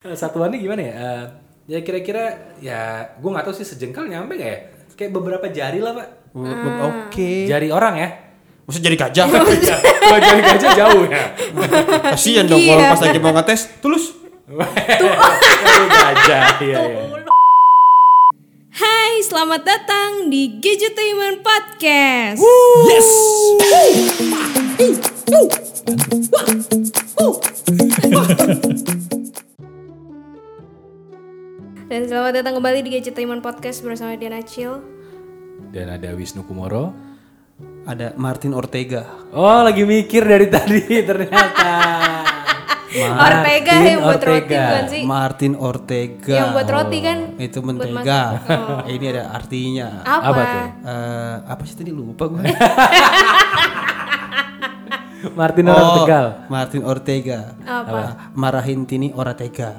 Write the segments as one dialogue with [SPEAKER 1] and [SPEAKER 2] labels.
[SPEAKER 1] Eh, Satuannya gimana ya? Eh, ya kira-kira ya gue nggak tahu sih sejengkal nyampe gak ya? Kayak beberapa jari lah pak.
[SPEAKER 2] Hmm.
[SPEAKER 3] Oke.
[SPEAKER 1] Jari orang ya.
[SPEAKER 3] Maksudnya jadi gajah.
[SPEAKER 2] Oh,
[SPEAKER 1] Kalau jari gajah jauh ya.
[SPEAKER 3] Kasihan dong
[SPEAKER 2] Iya.
[SPEAKER 3] kalau pas lagi mau ngetes, tulus.
[SPEAKER 1] Jari gajah iya iya.
[SPEAKER 2] Hai, selamat datang di Gadgetainment Podcast.
[SPEAKER 3] Yes.
[SPEAKER 2] Dan selamat datang kembali di Gadgetainment Podcast bersama Diana Chill.
[SPEAKER 1] Dan ada Wisnu Kumoro.
[SPEAKER 3] Ada Martin Ortega.
[SPEAKER 1] Oh lagi mikir dari tadi ternyata.
[SPEAKER 2] Ortega
[SPEAKER 1] Martin
[SPEAKER 2] yang buat roti
[SPEAKER 1] Ortega.
[SPEAKER 2] bukan sih?
[SPEAKER 3] Martin Ortega.
[SPEAKER 2] Yang buat roti kan?
[SPEAKER 3] Itu
[SPEAKER 2] Buat
[SPEAKER 3] mentega.
[SPEAKER 2] masak. Oh.
[SPEAKER 3] Ini ada artinya.
[SPEAKER 2] Apa?
[SPEAKER 1] Apa tuh?
[SPEAKER 3] Eh, apa sih tadi lupa gue?
[SPEAKER 1] Martin orang Tegal.
[SPEAKER 3] Oh, Martin Ortega.
[SPEAKER 2] Apa?
[SPEAKER 3] Eh, Marahin Tini Oratega.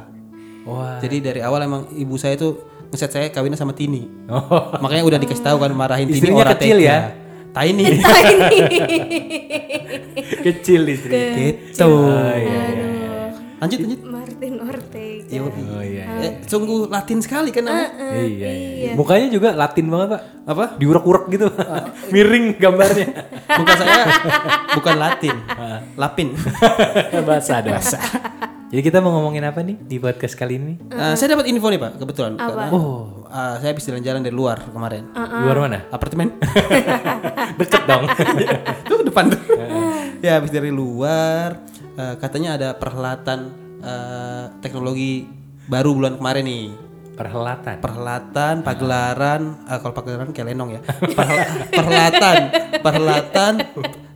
[SPEAKER 1] Wah.
[SPEAKER 3] Jadi dari awal emang ibu saya tuh ngeset saya kawinnya sama Tini.
[SPEAKER 1] Oh.
[SPEAKER 3] Makanya udah dikasih tahu kan marahin Tini
[SPEAKER 1] Istrinya
[SPEAKER 3] Oratega.
[SPEAKER 1] kecil ya?
[SPEAKER 3] Tiny.
[SPEAKER 1] Kecil
[SPEAKER 2] eh,
[SPEAKER 1] istri.
[SPEAKER 3] gitu.
[SPEAKER 1] Oh iya. iya.
[SPEAKER 3] Lanjut lanjut.
[SPEAKER 2] Martin Ortega.
[SPEAKER 3] Yo.
[SPEAKER 1] Oh iya. iya.
[SPEAKER 3] Eh, sungguh Latin sekali kan namanya.
[SPEAKER 1] Iya, iya, iya. Mukanya juga Latin banget pak.
[SPEAKER 3] Apa?
[SPEAKER 1] Diurek-urek gitu. Miring gambarnya.
[SPEAKER 3] Muka saya bukan Latin. eh, Lapin.
[SPEAKER 1] Bahasa ada. Jadi kita mau ngomongin apa nih di podcast kali ini?
[SPEAKER 3] Eh, saya dapat info nih Pak, kebetulan. Karena, eh, saya habis jalan-jalan dari luar kemarin.
[SPEAKER 1] Di luar mana?
[SPEAKER 3] Apartemen.
[SPEAKER 1] Deket dong.
[SPEAKER 3] Itu ke depan tuh. ya habis dari luar eh, katanya ada perhelatan eh, teknologi baru bulan kemarin nih.
[SPEAKER 1] Perhelatan.
[SPEAKER 3] Perhelatan, pagelaran, eh, kalau pagelaran kayak lenong ya. Perhel- perhelatan, perhelatan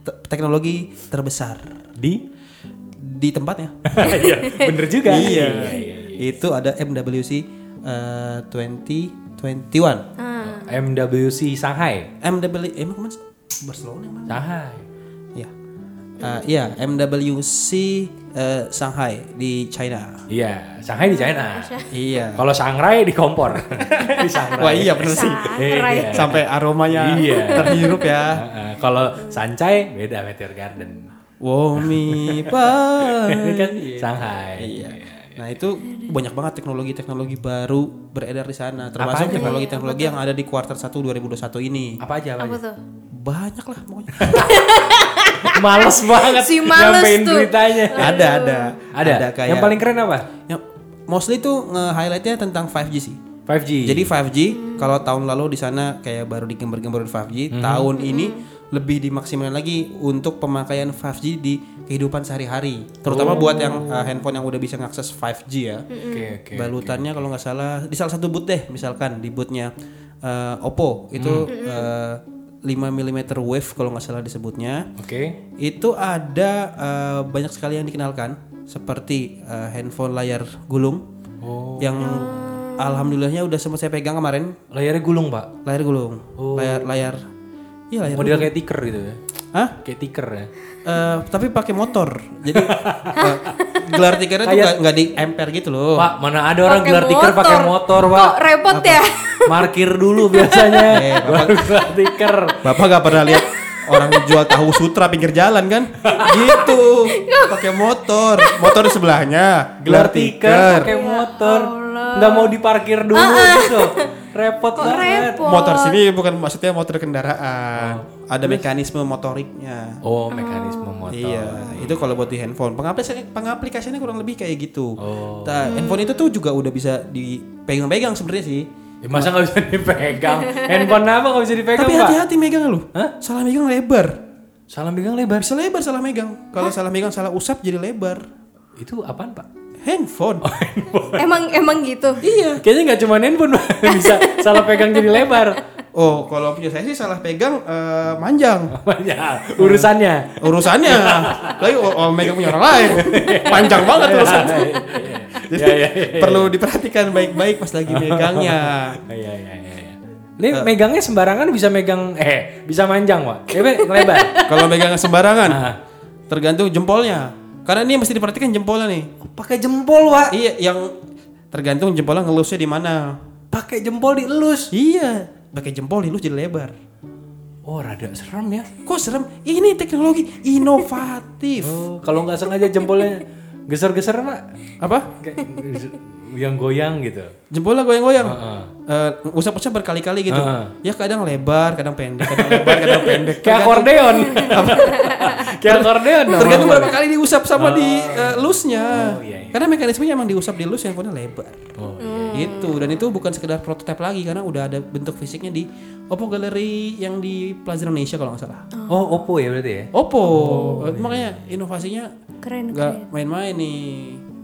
[SPEAKER 3] te- teknologi terbesar
[SPEAKER 1] Di?
[SPEAKER 3] di tempatnya.
[SPEAKER 1] Iya, bener juga.
[SPEAKER 3] Iya. Itu ada MWC eh, 2021.
[SPEAKER 1] MWC Shanghai.
[SPEAKER 3] MW eh, emang mas Barcelona emang?
[SPEAKER 1] Shanghai.
[SPEAKER 3] Ya. Eh, iya, MWC eh, Shanghai di China.
[SPEAKER 1] Iya, Shanghai di China.
[SPEAKER 3] Iya.
[SPEAKER 1] Kalau Shanghai di kompor. di Shanghai.
[SPEAKER 3] Wah iya bener sih.
[SPEAKER 2] Sangrai.
[SPEAKER 1] Iya.
[SPEAKER 3] Sampai aromanya
[SPEAKER 1] Iya.
[SPEAKER 3] terhirup ya.
[SPEAKER 1] Heeh, Kalau Sancai beda Meteor Garden.
[SPEAKER 3] Womi pa.
[SPEAKER 1] Ini kan Shanghai.
[SPEAKER 3] Iya. Nah itu banyak banget teknologi-teknologi baru beredar di sana,
[SPEAKER 1] aja,
[SPEAKER 3] termasuk
[SPEAKER 1] Bang?
[SPEAKER 3] teknologi-teknologi yang ada di kuartal 1 2021 ini.
[SPEAKER 1] Apa aja apa
[SPEAKER 2] Apa
[SPEAKER 1] aja?
[SPEAKER 2] tuh?
[SPEAKER 3] Banyak lah pokoknya.
[SPEAKER 1] Males banget
[SPEAKER 2] Si males
[SPEAKER 1] nyampein
[SPEAKER 2] tuh.
[SPEAKER 1] beritanya.
[SPEAKER 3] ada ada
[SPEAKER 1] Ada.
[SPEAKER 3] kayak
[SPEAKER 1] Yang paling keren apa?
[SPEAKER 3] Ya, mostly tuh nge-highlightnya tentang 5G sih
[SPEAKER 1] 5G.
[SPEAKER 3] jadi 5G kalau tahun lalu di sana kayak baru digembar-gembar di 5G tahun ini lebih dimaksimalkan lagi untuk pemakaian 5G di kehidupan sehari-hari terutama buat yang uh, handphone yang udah bisa ngakses 5G ya
[SPEAKER 1] oke oke.
[SPEAKER 3] balutannya kalau nggak salah di salah satu boot deh misalkan di bootnya uh, Oppo itu uh, 5 mm wave kalau nggak salah disebutnya
[SPEAKER 1] Oke.
[SPEAKER 3] itu ada eh, banyak sekali yang dikenalkan seperti eh, handphone layar gulung yang alhamdulillahnya udah sempat saya pegang kemarin
[SPEAKER 1] Layarnya gulung, Pak.
[SPEAKER 3] layar gulung layar layar iya layar
[SPEAKER 1] Model kayak tiker gitu ya.
[SPEAKER 3] Hah?
[SPEAKER 1] Kayak tiker ya.
[SPEAKER 3] Eh, tapi pakai motor jadi eh, gelar tikernya tuh nggak- nggak di ampere gitu loh
[SPEAKER 1] Pak, mana ada orang
[SPEAKER 2] Pakai
[SPEAKER 1] gelar tiker pakai motor, Pak.
[SPEAKER 2] Kok repot ya?
[SPEAKER 1] Markir dulu biasanya.
[SPEAKER 3] Eh,
[SPEAKER 1] Baru gelar tiker.
[SPEAKER 3] bapak nggak pernah lihat orang jual tahu sutra pinggir jalan kan gitu pakai motor motor di sebelahnya
[SPEAKER 1] Gelar tiker
[SPEAKER 2] Ya
[SPEAKER 1] pakai motor. Nggak mau diparkir dulu gitu. Repot
[SPEAKER 2] Ah, Kok
[SPEAKER 1] banget.
[SPEAKER 2] repot?
[SPEAKER 3] motor sini bukan maksudnya motor kendaraan ada mekanisme motoriknya
[SPEAKER 1] Oh, mekanisme
[SPEAKER 2] Ah.
[SPEAKER 1] motor.
[SPEAKER 3] iya itu kalau buat di handphone pengaplikasiannya, pengaplikasiannya kurang lebih kayak gitu
[SPEAKER 1] Oh.
[SPEAKER 3] Nah, handphone itu tuh juga udah bisa dipegang-pegang sebenarnya sih
[SPEAKER 1] Ya, masa nggak bisa dipegang? Handphone apa nggak bisa dipegang,
[SPEAKER 3] tapi
[SPEAKER 1] Pak?
[SPEAKER 3] hati-hati megang lu salah megang lebar
[SPEAKER 1] Salam pegang lebar.
[SPEAKER 3] bisa lebar salah megang kalau salah megang salah usap jadi lebar
[SPEAKER 1] Itu apaan, Pak? Oh.
[SPEAKER 3] handphone
[SPEAKER 2] Emang emang gitu.
[SPEAKER 1] Iya. Kayaknya nggak cuma handphone Pak. bisa salah pegang jadi lebar.
[SPEAKER 3] oh kalau punya saya sih salah pegang eh,
[SPEAKER 1] Oh.
[SPEAKER 3] manjang
[SPEAKER 1] Banyak urusannya.
[SPEAKER 3] urusannya lagi oh, oh, megang punya orang lain panjang banget urusannya Jadi
[SPEAKER 1] Iya, iya, iya,
[SPEAKER 3] perlu diperhatikan baik-baik pas lagi megangnya.
[SPEAKER 1] Iya iya iya. iya. Ini megangnya sembarangan bisa megang eh bisa manjang pak, eh Pak, lebar.
[SPEAKER 3] Kalau megang sembarangan,
[SPEAKER 1] Ah.
[SPEAKER 3] tergantung jempolnya. Karena ini mesti diperhatikan jempolnya nih.
[SPEAKER 1] Pakai jempol pak,
[SPEAKER 3] Iya, yang tergantung jempolnya ngelusnya di mana.
[SPEAKER 1] pakai jempol dielus.
[SPEAKER 3] Iya, pakai jempol dilus jadi lebar.
[SPEAKER 1] Oh rada serem ya.
[SPEAKER 3] Kok serem? Ini teknologi inovatif.
[SPEAKER 1] Oh, kalau nggak sengaja jempolnya Geser-geser pak.
[SPEAKER 3] Apa?
[SPEAKER 1] Kayak yang goyang gitu.
[SPEAKER 3] Jempolnya goyang-goyang.
[SPEAKER 1] Heeh.
[SPEAKER 3] Eh, usap-usap berkali-kali gitu.
[SPEAKER 1] Heeh.
[SPEAKER 3] Ya kadang lebar, kadang pendek, kadang lebar, kadang pendek.
[SPEAKER 1] Kayak
[SPEAKER 3] Tergantung-
[SPEAKER 1] akordeon. Kayak akordeon. dong.
[SPEAKER 3] Tergantung berapa kali diusap sama di eh, loose-nya.
[SPEAKER 1] Oh, iya, iya.
[SPEAKER 3] Karena mekanismenya emang diusap di loose handphonenya lebar.
[SPEAKER 1] Oh,
[SPEAKER 3] Gitu. Dan itu bukan sekedar prototipe lagi karena udah ada bentuk fisiknya di Oppo Gallery yang di Plaza Indonesia kalau nggak salah.
[SPEAKER 1] Oh, Oppo ya berarti ya.
[SPEAKER 3] Oppo. Eh, makanya inovasinya
[SPEAKER 2] Keren.
[SPEAKER 3] nggak main-main nih.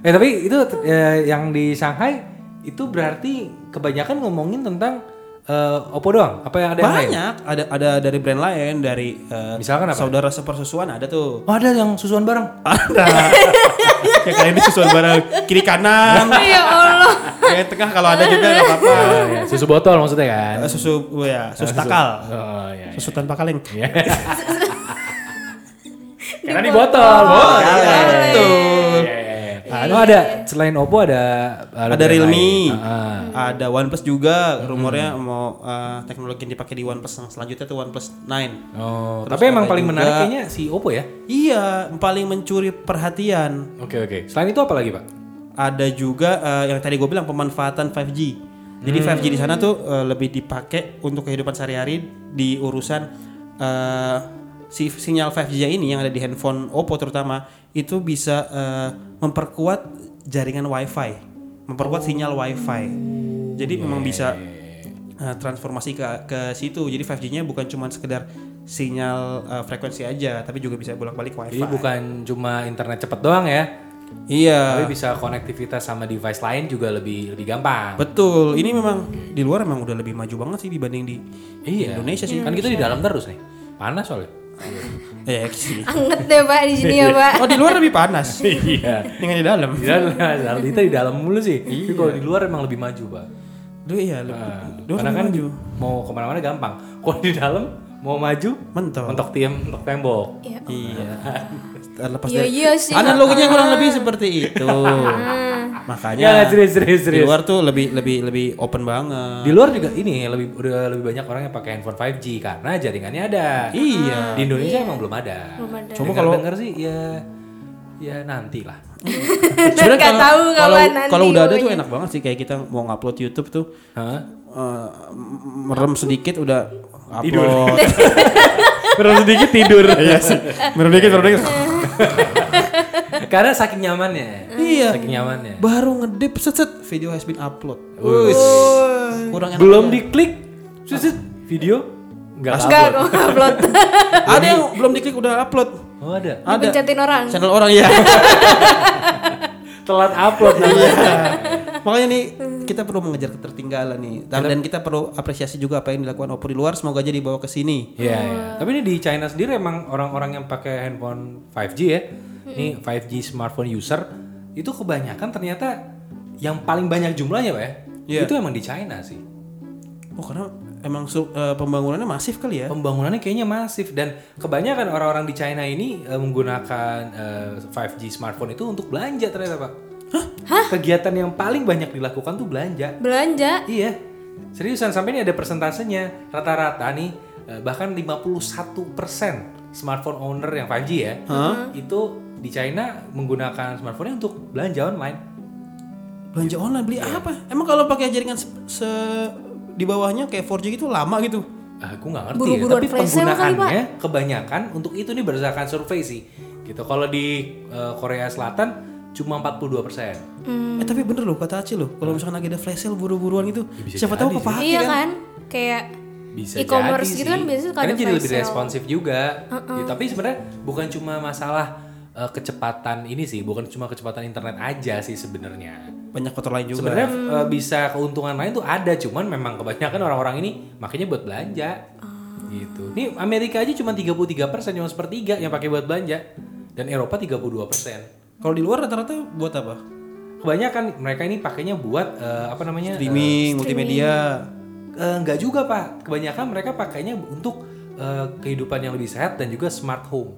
[SPEAKER 1] Eh tapi itu eh, yang di Shanghai itu berarti kebanyakan ngomongin tentang eh, Oppo doang. Apa yang ada yang lain?
[SPEAKER 3] Banyak ada ada dari brand lain dari eh,
[SPEAKER 1] Misalkan apa?
[SPEAKER 3] saudara sepersusuan ada tuh.
[SPEAKER 1] Oh, ada yang susuan bareng.
[SPEAKER 3] Ada. ya kalian ini susuan barang kiri kanan.
[SPEAKER 2] ya Allah.
[SPEAKER 3] Kayak tengah kalau ada juga nggak apa-apa.
[SPEAKER 1] Ah, ya, Susu botol maksudnya kan.
[SPEAKER 3] Eh, Susu oh ya, susu takal.
[SPEAKER 1] Oh, iya.
[SPEAKER 3] Susu tanpa kaleng.
[SPEAKER 1] Iya. Karena di botol. Oh,
[SPEAKER 3] Iya, Betul.
[SPEAKER 1] Iya, iya, iya. Ah, oh, ada selain Oppo ada
[SPEAKER 3] Ada
[SPEAKER 1] brand lain.
[SPEAKER 3] Realme.
[SPEAKER 1] Ah,
[SPEAKER 3] Ada OnePlus juga rumornya mau eh, teknologi yang dipakai di OnePlus yang selanjutnya tuh OnePlus 9.
[SPEAKER 1] ah. Oh,
[SPEAKER 3] Terus
[SPEAKER 1] tapi emang
[SPEAKER 3] ada
[SPEAKER 1] paling
[SPEAKER 3] juga-
[SPEAKER 1] menarik kayaknya si Oppo ya.
[SPEAKER 3] Iya, paling mencuri perhatian.
[SPEAKER 1] Oke oke. Selain itu apa lagi pak?
[SPEAKER 3] Ada juga eh, yang tadi gue bilang pemanfaatan 5G. Jadi 5G di sana tuh eh, lebih dipakai untuk kehidupan sehari-hari di urusan eh, si sinyal 5G -nya ini yang ada di handphone Oppo terutama itu bisa eh, memperkuat jaringan WiFi, memperkuat sinyal WiFi. Jadi memang bisa eh, transformasi ke ke situ. Jadi 5G-nya bukan cuma sekedar sinyal eh, frekuensi aja, tapi juga bisa bolak-balik
[SPEAKER 1] Jadi
[SPEAKER 3] WiFi.
[SPEAKER 1] bukan cuma internet cepet doang ya,
[SPEAKER 3] Iya.
[SPEAKER 1] tapi bisa konektivitas sama device lain juga lebih lebih gampang.
[SPEAKER 3] Betul, ini memang di luar memang udah lebih maju banget sih dibanding di
[SPEAKER 1] Iya.
[SPEAKER 3] Indonesia sih.
[SPEAKER 1] Kan kita di dalam terus nih. Panas soalnya.
[SPEAKER 3] Eh, sih.
[SPEAKER 2] Anget deh Pak di sini ya Pak.
[SPEAKER 3] Oh di luar lebih panas
[SPEAKER 1] Iya.
[SPEAKER 3] dengan di dalam.
[SPEAKER 1] Di dalam, Iya. di- kita di dalam mulu sih. Tapi kalau di luar emang lebih maju, Pak.
[SPEAKER 3] Duh iya, lebih, di luar
[SPEAKER 1] Karena kan
[SPEAKER 3] maju.
[SPEAKER 1] mau kemana-mana gampang. Kalau di dalam mau maju,
[SPEAKER 3] Mentok.
[SPEAKER 1] mentok tiang, mentok tembok.
[SPEAKER 3] Iya. Terlepas
[SPEAKER 2] Iya,
[SPEAKER 3] dari
[SPEAKER 2] iya sih.
[SPEAKER 3] analoginya kurang lebih seperti itu.
[SPEAKER 1] Ya,
[SPEAKER 3] Makanya
[SPEAKER 1] serius, serius,
[SPEAKER 3] di
[SPEAKER 1] serius.
[SPEAKER 3] luar tuh lebih lebih lebih open banget.
[SPEAKER 1] Di luar juga ini lebih udah lebih banyak orang yang pakai handphone 5G karena jaringannya ada.
[SPEAKER 3] Iya.
[SPEAKER 1] Di Indonesia emang belum ada.
[SPEAKER 2] Belum ada.
[SPEAKER 1] Coba kalau denger sih ya ya nanti lah.
[SPEAKER 2] Dan
[SPEAKER 3] Sebenarnya
[SPEAKER 2] Kan nggak tahu
[SPEAKER 3] kalau
[SPEAKER 2] kapan nanti.
[SPEAKER 3] kalau udah ada tuh
[SPEAKER 2] pokoknya.
[SPEAKER 3] enak banget sih kayak kita mau ngupload YouTube tuh
[SPEAKER 1] Hah?
[SPEAKER 3] eh, merem sedikit udah upload.
[SPEAKER 1] Terus sedikit tidur. Iya.
[SPEAKER 3] Iya sih. Merem dikit, merem dikit.
[SPEAKER 1] karena saking nyamannya.
[SPEAKER 3] Iya.
[SPEAKER 1] Saking nyamannya.
[SPEAKER 3] Baru ngedip set set video has been upload.
[SPEAKER 1] Wuss.
[SPEAKER 3] Kurang enak.
[SPEAKER 1] Belum diklik, susit video nggak
[SPEAKER 2] Enggak,
[SPEAKER 1] upload.
[SPEAKER 2] kok nggak upload.
[SPEAKER 3] Ada yang belum diklik udah upload.
[SPEAKER 1] Oh ada.
[SPEAKER 3] Ada.
[SPEAKER 2] Pencetin orang.
[SPEAKER 3] Channel orang ya.
[SPEAKER 1] Telat upload namanya.
[SPEAKER 3] Makanya nih kita perlu mengejar ketertinggalan nih. Dan, dan kita perlu apresiasi juga apa yang dilakukan Oppo di luar semoga aja dibawa ke sini.
[SPEAKER 1] Iya, iya. Tapi ini di China sendiri emang orang-orang yang pakai handphone 5G ya. Ini 5G smartphone user itu kebanyakan ternyata yang paling banyak jumlahnya, Pak ya.
[SPEAKER 3] Iya.
[SPEAKER 1] Itu emang di China sih.
[SPEAKER 3] Oh karena emang su- eh, pembangunannya masif kali ya.
[SPEAKER 1] Pembangunannya kayaknya masif dan kebanyakan orang-orang di China ini eh, menggunakan eh, 5G smartphone itu untuk belanja ternyata, Pak. Hah? Kegiatan yang paling banyak dilakukan tuh belanja.
[SPEAKER 2] Belanja.
[SPEAKER 1] Iya. Seriusan sampai ini ada persentasenya rata-rata nih eh, bahkan 51% smartphone owner yang 5G ya. Itu di China menggunakan smartphone untuk belanja online.
[SPEAKER 3] Belanja online beli apa? Emang kalau pakai jaringan se, se- di bawahnya kayak 4G gitu lama gitu.
[SPEAKER 1] Ah, Aku nggak ngerti ya,
[SPEAKER 2] Buru-buruan
[SPEAKER 1] tapi
[SPEAKER 2] flash sale kali,
[SPEAKER 1] penggunaannya kebanyakan untuk itu nih berdasarkan survei sih. Gitu. Kalau di eh, Korea Selatan cuma 42%.
[SPEAKER 3] Eh tapi bener loh kata Aci loh, kalau misalkan lagi ada flash sale buru-buruan gitu,
[SPEAKER 1] bisa
[SPEAKER 3] siapa tahu kepake
[SPEAKER 2] Iya
[SPEAKER 3] kan.
[SPEAKER 2] kan? Kayak
[SPEAKER 1] Bisa
[SPEAKER 2] e-commerce
[SPEAKER 1] jadi
[SPEAKER 2] gitu
[SPEAKER 1] sih.
[SPEAKER 2] kan biasanya suka
[SPEAKER 1] Karena
[SPEAKER 2] ada
[SPEAKER 1] jadi
[SPEAKER 2] flash
[SPEAKER 1] lebih
[SPEAKER 2] sale.
[SPEAKER 1] responsif juga. Ya, tapi sebenarnya bukan cuma masalah eh, kecepatan ini sih, bukan cuma kecepatan internet aja sih sebenarnya.
[SPEAKER 3] Banyak kotor lain juga.
[SPEAKER 1] Sebenarnya eh, bisa keuntungan lain tuh ada, cuman memang kebanyakan orang-orang ini makanya buat belanja.
[SPEAKER 2] Ah.
[SPEAKER 1] Gitu. Nih Amerika aja cuma 33%, cuma sepertiga yang pakai buat belanja. Dan Eropa 32%.
[SPEAKER 3] Kalau di luar rata-rata buat apa?
[SPEAKER 1] Kebanyakan mereka ini pakainya buat eh, apa namanya?
[SPEAKER 3] Streaming, multimedia.
[SPEAKER 1] Eh, Enggak juga pak, kebanyakan mereka pakainya untuk eh, kehidupan yang lebih sehat dan juga smart home.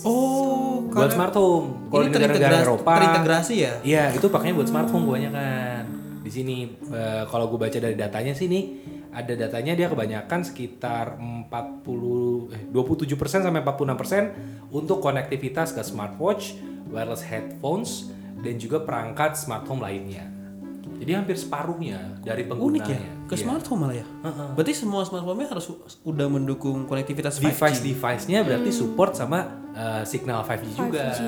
[SPEAKER 3] Oh,
[SPEAKER 1] buat smart home, kalau di
[SPEAKER 3] ini
[SPEAKER 1] negara-negara
[SPEAKER 3] terintegrasi,
[SPEAKER 1] Eropa,
[SPEAKER 3] terintegrasi ya.
[SPEAKER 1] iya itu pakainya buat smart home kebanyakan. Di sini eh, kalau gue baca dari datanya sih nih, ada datanya dia kebanyakan sekitar 40 eh, 27% sampai 46% untuk konektivitas ke smartwatch, wireless headphones, dan juga perangkat smart home lainnya. Jadi hampir separuhnya dari penggunanya.
[SPEAKER 3] Unik ya, ke
[SPEAKER 1] Iya.
[SPEAKER 3] smartphone malah ya. Berarti semua smartphone harus u- udah mendukung konektivitas 5G.
[SPEAKER 1] Device-device-nya
[SPEAKER 3] Hmm.
[SPEAKER 1] berarti support sama eh, signal 5G juga.
[SPEAKER 2] 5G.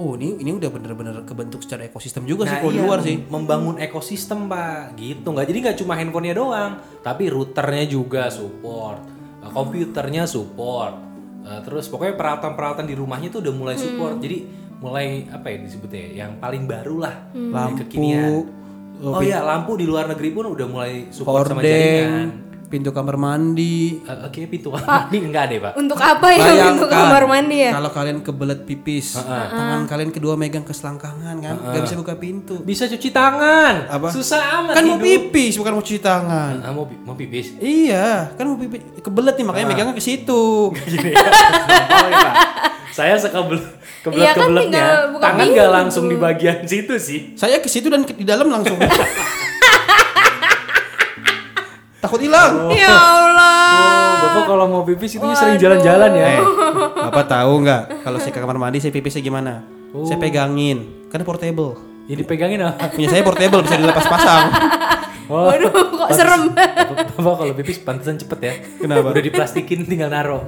[SPEAKER 3] Oh ini ini udah bener-bener kebentuk secara ekosistem juga sih
[SPEAKER 1] Nah,
[SPEAKER 3] kalau di
[SPEAKER 1] iya,
[SPEAKER 3] luar sih.
[SPEAKER 1] Membangun ekosistem pak, gitu nggak. Jadi nggak cuma handphonenya doang, tapi routernya juga support, eh, komputernya support, Eh, terus pokoknya peralatan-peralatan di rumahnya tuh udah mulai support.
[SPEAKER 3] Hmm.
[SPEAKER 1] Jadi mulai apa ya disebutnya? ya, Yang paling baru lah dari
[SPEAKER 3] Hmm. Lampu,
[SPEAKER 1] kekinian.
[SPEAKER 3] eh,
[SPEAKER 1] Oh iya, lampu di luar negeri pun udah mulai support sama
[SPEAKER 3] Horden,
[SPEAKER 1] jaringan.
[SPEAKER 3] pintu kamar mandi.
[SPEAKER 1] Eh, Oke, pintu mandi enggak deh pak.
[SPEAKER 2] Untuk apa ya untuk kamar mandi ya?
[SPEAKER 3] Kalau kalian kebelet pipis, tangan kalian kedua megang ke selangkangan kan, nggak bisa buka pintu.
[SPEAKER 1] Bisa cuci tangan.
[SPEAKER 3] Apa?
[SPEAKER 1] Susah amat
[SPEAKER 3] Kan mau
[SPEAKER 1] hidup.
[SPEAKER 3] pipis bukan mau cuci tangan.
[SPEAKER 1] Ah, mau, pi- mau pipis.
[SPEAKER 3] Iya, kan mau pipis kebelet nih makanya megangnya ke situ.
[SPEAKER 1] Gini ya. Gampang ya, Pak. Saya sekebel kebelet
[SPEAKER 2] Iya kan,
[SPEAKER 1] kebeletnya
[SPEAKER 2] tinggal buka
[SPEAKER 1] tangan
[SPEAKER 2] pintu.
[SPEAKER 1] gak langsung di bagian situ sih.
[SPEAKER 3] Saya ke situ dan ke- di dalam langsung. Takut hilang.
[SPEAKER 2] Ya Allah.
[SPEAKER 1] Oh, Bapak kalau mau pipis itu sering jalan-jalan ya.
[SPEAKER 3] Eh, Bapak tahu nggak kalau saya ke kamar mandi saya pipisnya gimana? Saya pegangin, karena portable.
[SPEAKER 1] Jadi pegangin ah. apa?
[SPEAKER 3] Punya saya portable bisa dilepas pasang.
[SPEAKER 1] Oh.
[SPEAKER 2] Waduh, kok serem.
[SPEAKER 1] Bapak bapak kalau pipis pantesan cepet ya.
[SPEAKER 3] Kenapa?
[SPEAKER 1] Udah diplastikin tinggal naro.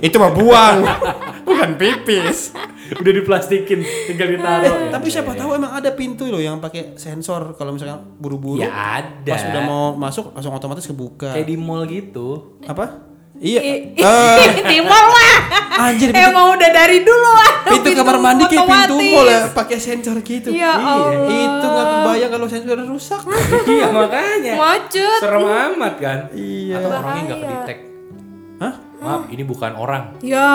[SPEAKER 3] Itu mah buang, bukan pipis.
[SPEAKER 1] Udah diplastikin tinggal ditaro. ya.
[SPEAKER 3] Tapi siapa tahu emang ada pintu loh yang pakai sensor kalau misalkan buru-buru.
[SPEAKER 1] Ya ada.
[SPEAKER 3] Pas udah mau masuk langsung otomatis kebuka.
[SPEAKER 1] Kayak di mall gitu.
[SPEAKER 3] Apa? Iya. Eh,
[SPEAKER 2] Timol lah.
[SPEAKER 3] anjir pintu,
[SPEAKER 2] Emang udah dari dulu lah.
[SPEAKER 3] pintu kamar mandi kayak pintu
[SPEAKER 2] otomatis.
[SPEAKER 3] mall ya, pakai sensor gitu.
[SPEAKER 2] Ya
[SPEAKER 3] Iya.
[SPEAKER 2] Allah.
[SPEAKER 3] Itu nggak kebayang kalau sensor rusak.
[SPEAKER 1] iya makanya.
[SPEAKER 2] Macet.
[SPEAKER 1] Serem amat kan?
[SPEAKER 3] Iya.
[SPEAKER 1] Atau orangnya nggak kedetek.
[SPEAKER 3] Hah?
[SPEAKER 1] Maaf, ini bukan orang.
[SPEAKER 2] Ya.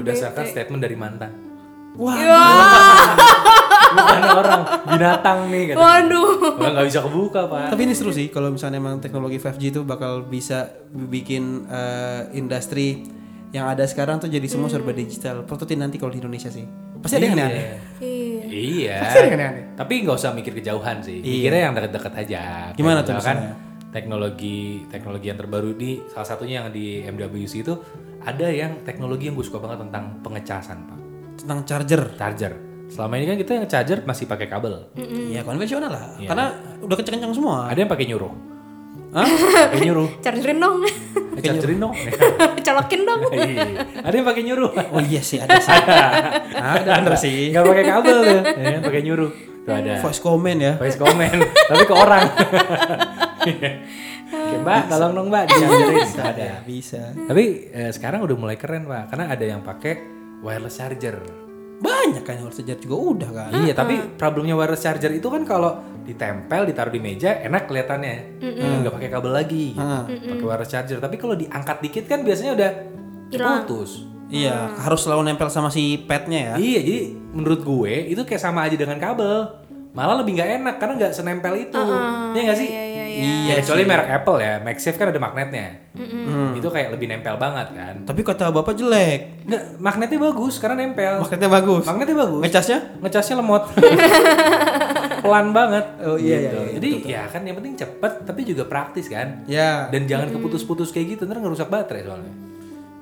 [SPEAKER 1] Berdasarkan statement dari mantan.
[SPEAKER 3] Wah.
[SPEAKER 2] Ya.
[SPEAKER 1] bukan orang binatang nih katanya.
[SPEAKER 2] Waduh.
[SPEAKER 1] Wah, nggak bisa kebuka pak
[SPEAKER 3] Tapi ini seru sih kalau misalnya emang teknologi 5G itu bakal bisa bikin eh, industri yang ada sekarang tuh jadi semua serba
[SPEAKER 2] Hmm.
[SPEAKER 3] digital. Prototin nanti kalau di Indonesia sih. Pasti ada yang
[SPEAKER 1] Iya.
[SPEAKER 3] aneh-aneh.
[SPEAKER 2] Iya.
[SPEAKER 1] iya
[SPEAKER 3] Pasti ada yang aneh-aneh. Iya.
[SPEAKER 1] tapi nggak usah mikir kejauhan sih mikirnya yang deket-deket aja
[SPEAKER 3] Gimana tuh
[SPEAKER 1] kan
[SPEAKER 3] misalnya?
[SPEAKER 1] teknologi teknologi yang terbaru ini salah satunya yang di MWC itu ada yang teknologi yang gue suka banget tentang pengecasan pak
[SPEAKER 3] Tentang charger.
[SPEAKER 1] charger selama ini kan kita yang charger masih pakai kabel
[SPEAKER 2] Hmm.
[SPEAKER 3] Ya konvensional lah. Karena udah kenceng-kenceng semua.
[SPEAKER 1] ada yang pakai nyuruh
[SPEAKER 3] Hah?
[SPEAKER 1] pakai nyuruh
[SPEAKER 2] Chargerin dong.
[SPEAKER 1] Eh, chargerin dong
[SPEAKER 2] Colokin dong.
[SPEAKER 1] Iya. ada yang pakai nyuruh
[SPEAKER 3] Oh iya sih ada sih. ada bener sih.
[SPEAKER 1] nggak pakai kabel Iya. ya kan, pakai nyuruh tuh ada
[SPEAKER 3] Voice comment ya.
[SPEAKER 1] voice comment tapi ke orang Oke, mbak tolong dong mbak diajarin ada
[SPEAKER 3] bisa.
[SPEAKER 1] tapi eh, sekarang udah mulai keren pak karena ada yang pakai wireless charger
[SPEAKER 3] Banyak kan yang harus sejarah juga udah kan.
[SPEAKER 1] iya tapi problemnya wireless charger itu kan kalau ditempel ditaruh di meja enak kelihatannya Eh, nggak pakai kabel lagi gitu. pakai wireless charger tapi kalau diangkat dikit kan biasanya udah putus
[SPEAKER 3] Iya, harus selalu nempel sama si petnya ya.
[SPEAKER 1] iya jadi menurut gue itu kayak sama aja dengan kabel malah lebih nggak enak karena nggak senempel itu Iya nggak sih
[SPEAKER 3] Iya.
[SPEAKER 1] Ya, kecuali merek Apple ya, MagSafe kan ada magnetnya. Itu kayak lebih nempel banget kan.
[SPEAKER 3] Tapi kata bapak jelek.
[SPEAKER 1] Nggak, magnetnya bagus karena nempel.
[SPEAKER 3] Magnetnya bagus.
[SPEAKER 1] Magnetnya bagus.
[SPEAKER 3] Ngecasnya?
[SPEAKER 1] Ngecasnya lemot. Pelan banget.
[SPEAKER 3] Oh, iya, iya,
[SPEAKER 1] Gitu.
[SPEAKER 3] iya,
[SPEAKER 1] Jadi ya kan yang penting cepet tapi juga praktis kan.
[SPEAKER 3] Ya.
[SPEAKER 1] Dan jangan keputus-putus kayak gitu, ntar ngerusak baterai soalnya.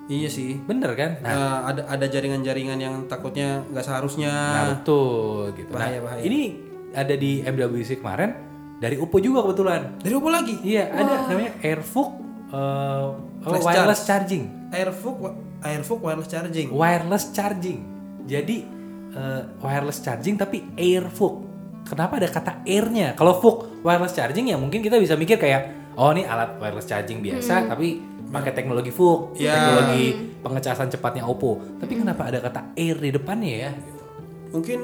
[SPEAKER 3] Iya sih.
[SPEAKER 1] Bener kan? Nah,
[SPEAKER 3] Eh, ada ada jaringan-jaringan yang takutnya nggak seharusnya.
[SPEAKER 1] nah, betul gitu. Nah,
[SPEAKER 3] Ah. Bahaya, bahaya.
[SPEAKER 1] Ini ada di MWC kemarin dari Oppo juga kebetulan.
[SPEAKER 3] Dari apa lagi?
[SPEAKER 1] Iya, ada namanya AirFook eh, apa,
[SPEAKER 3] Flash
[SPEAKER 1] wireless charging.
[SPEAKER 3] Airfook, Airfook wireless charging.
[SPEAKER 1] wireless charging. Jadi eh, wireless charging tapi air fook. Kenapa ada kata airnya? Kalau fook wireless charging ya mungkin kita bisa mikir kayak oh ini alat wireless charging biasa tapi pakai teknologi fook,
[SPEAKER 3] Hmm. Ya.
[SPEAKER 1] teknologi pengecasan cepatnya Oppo. Tapi kenapa ada kata air di depannya ya?
[SPEAKER 3] Mungkin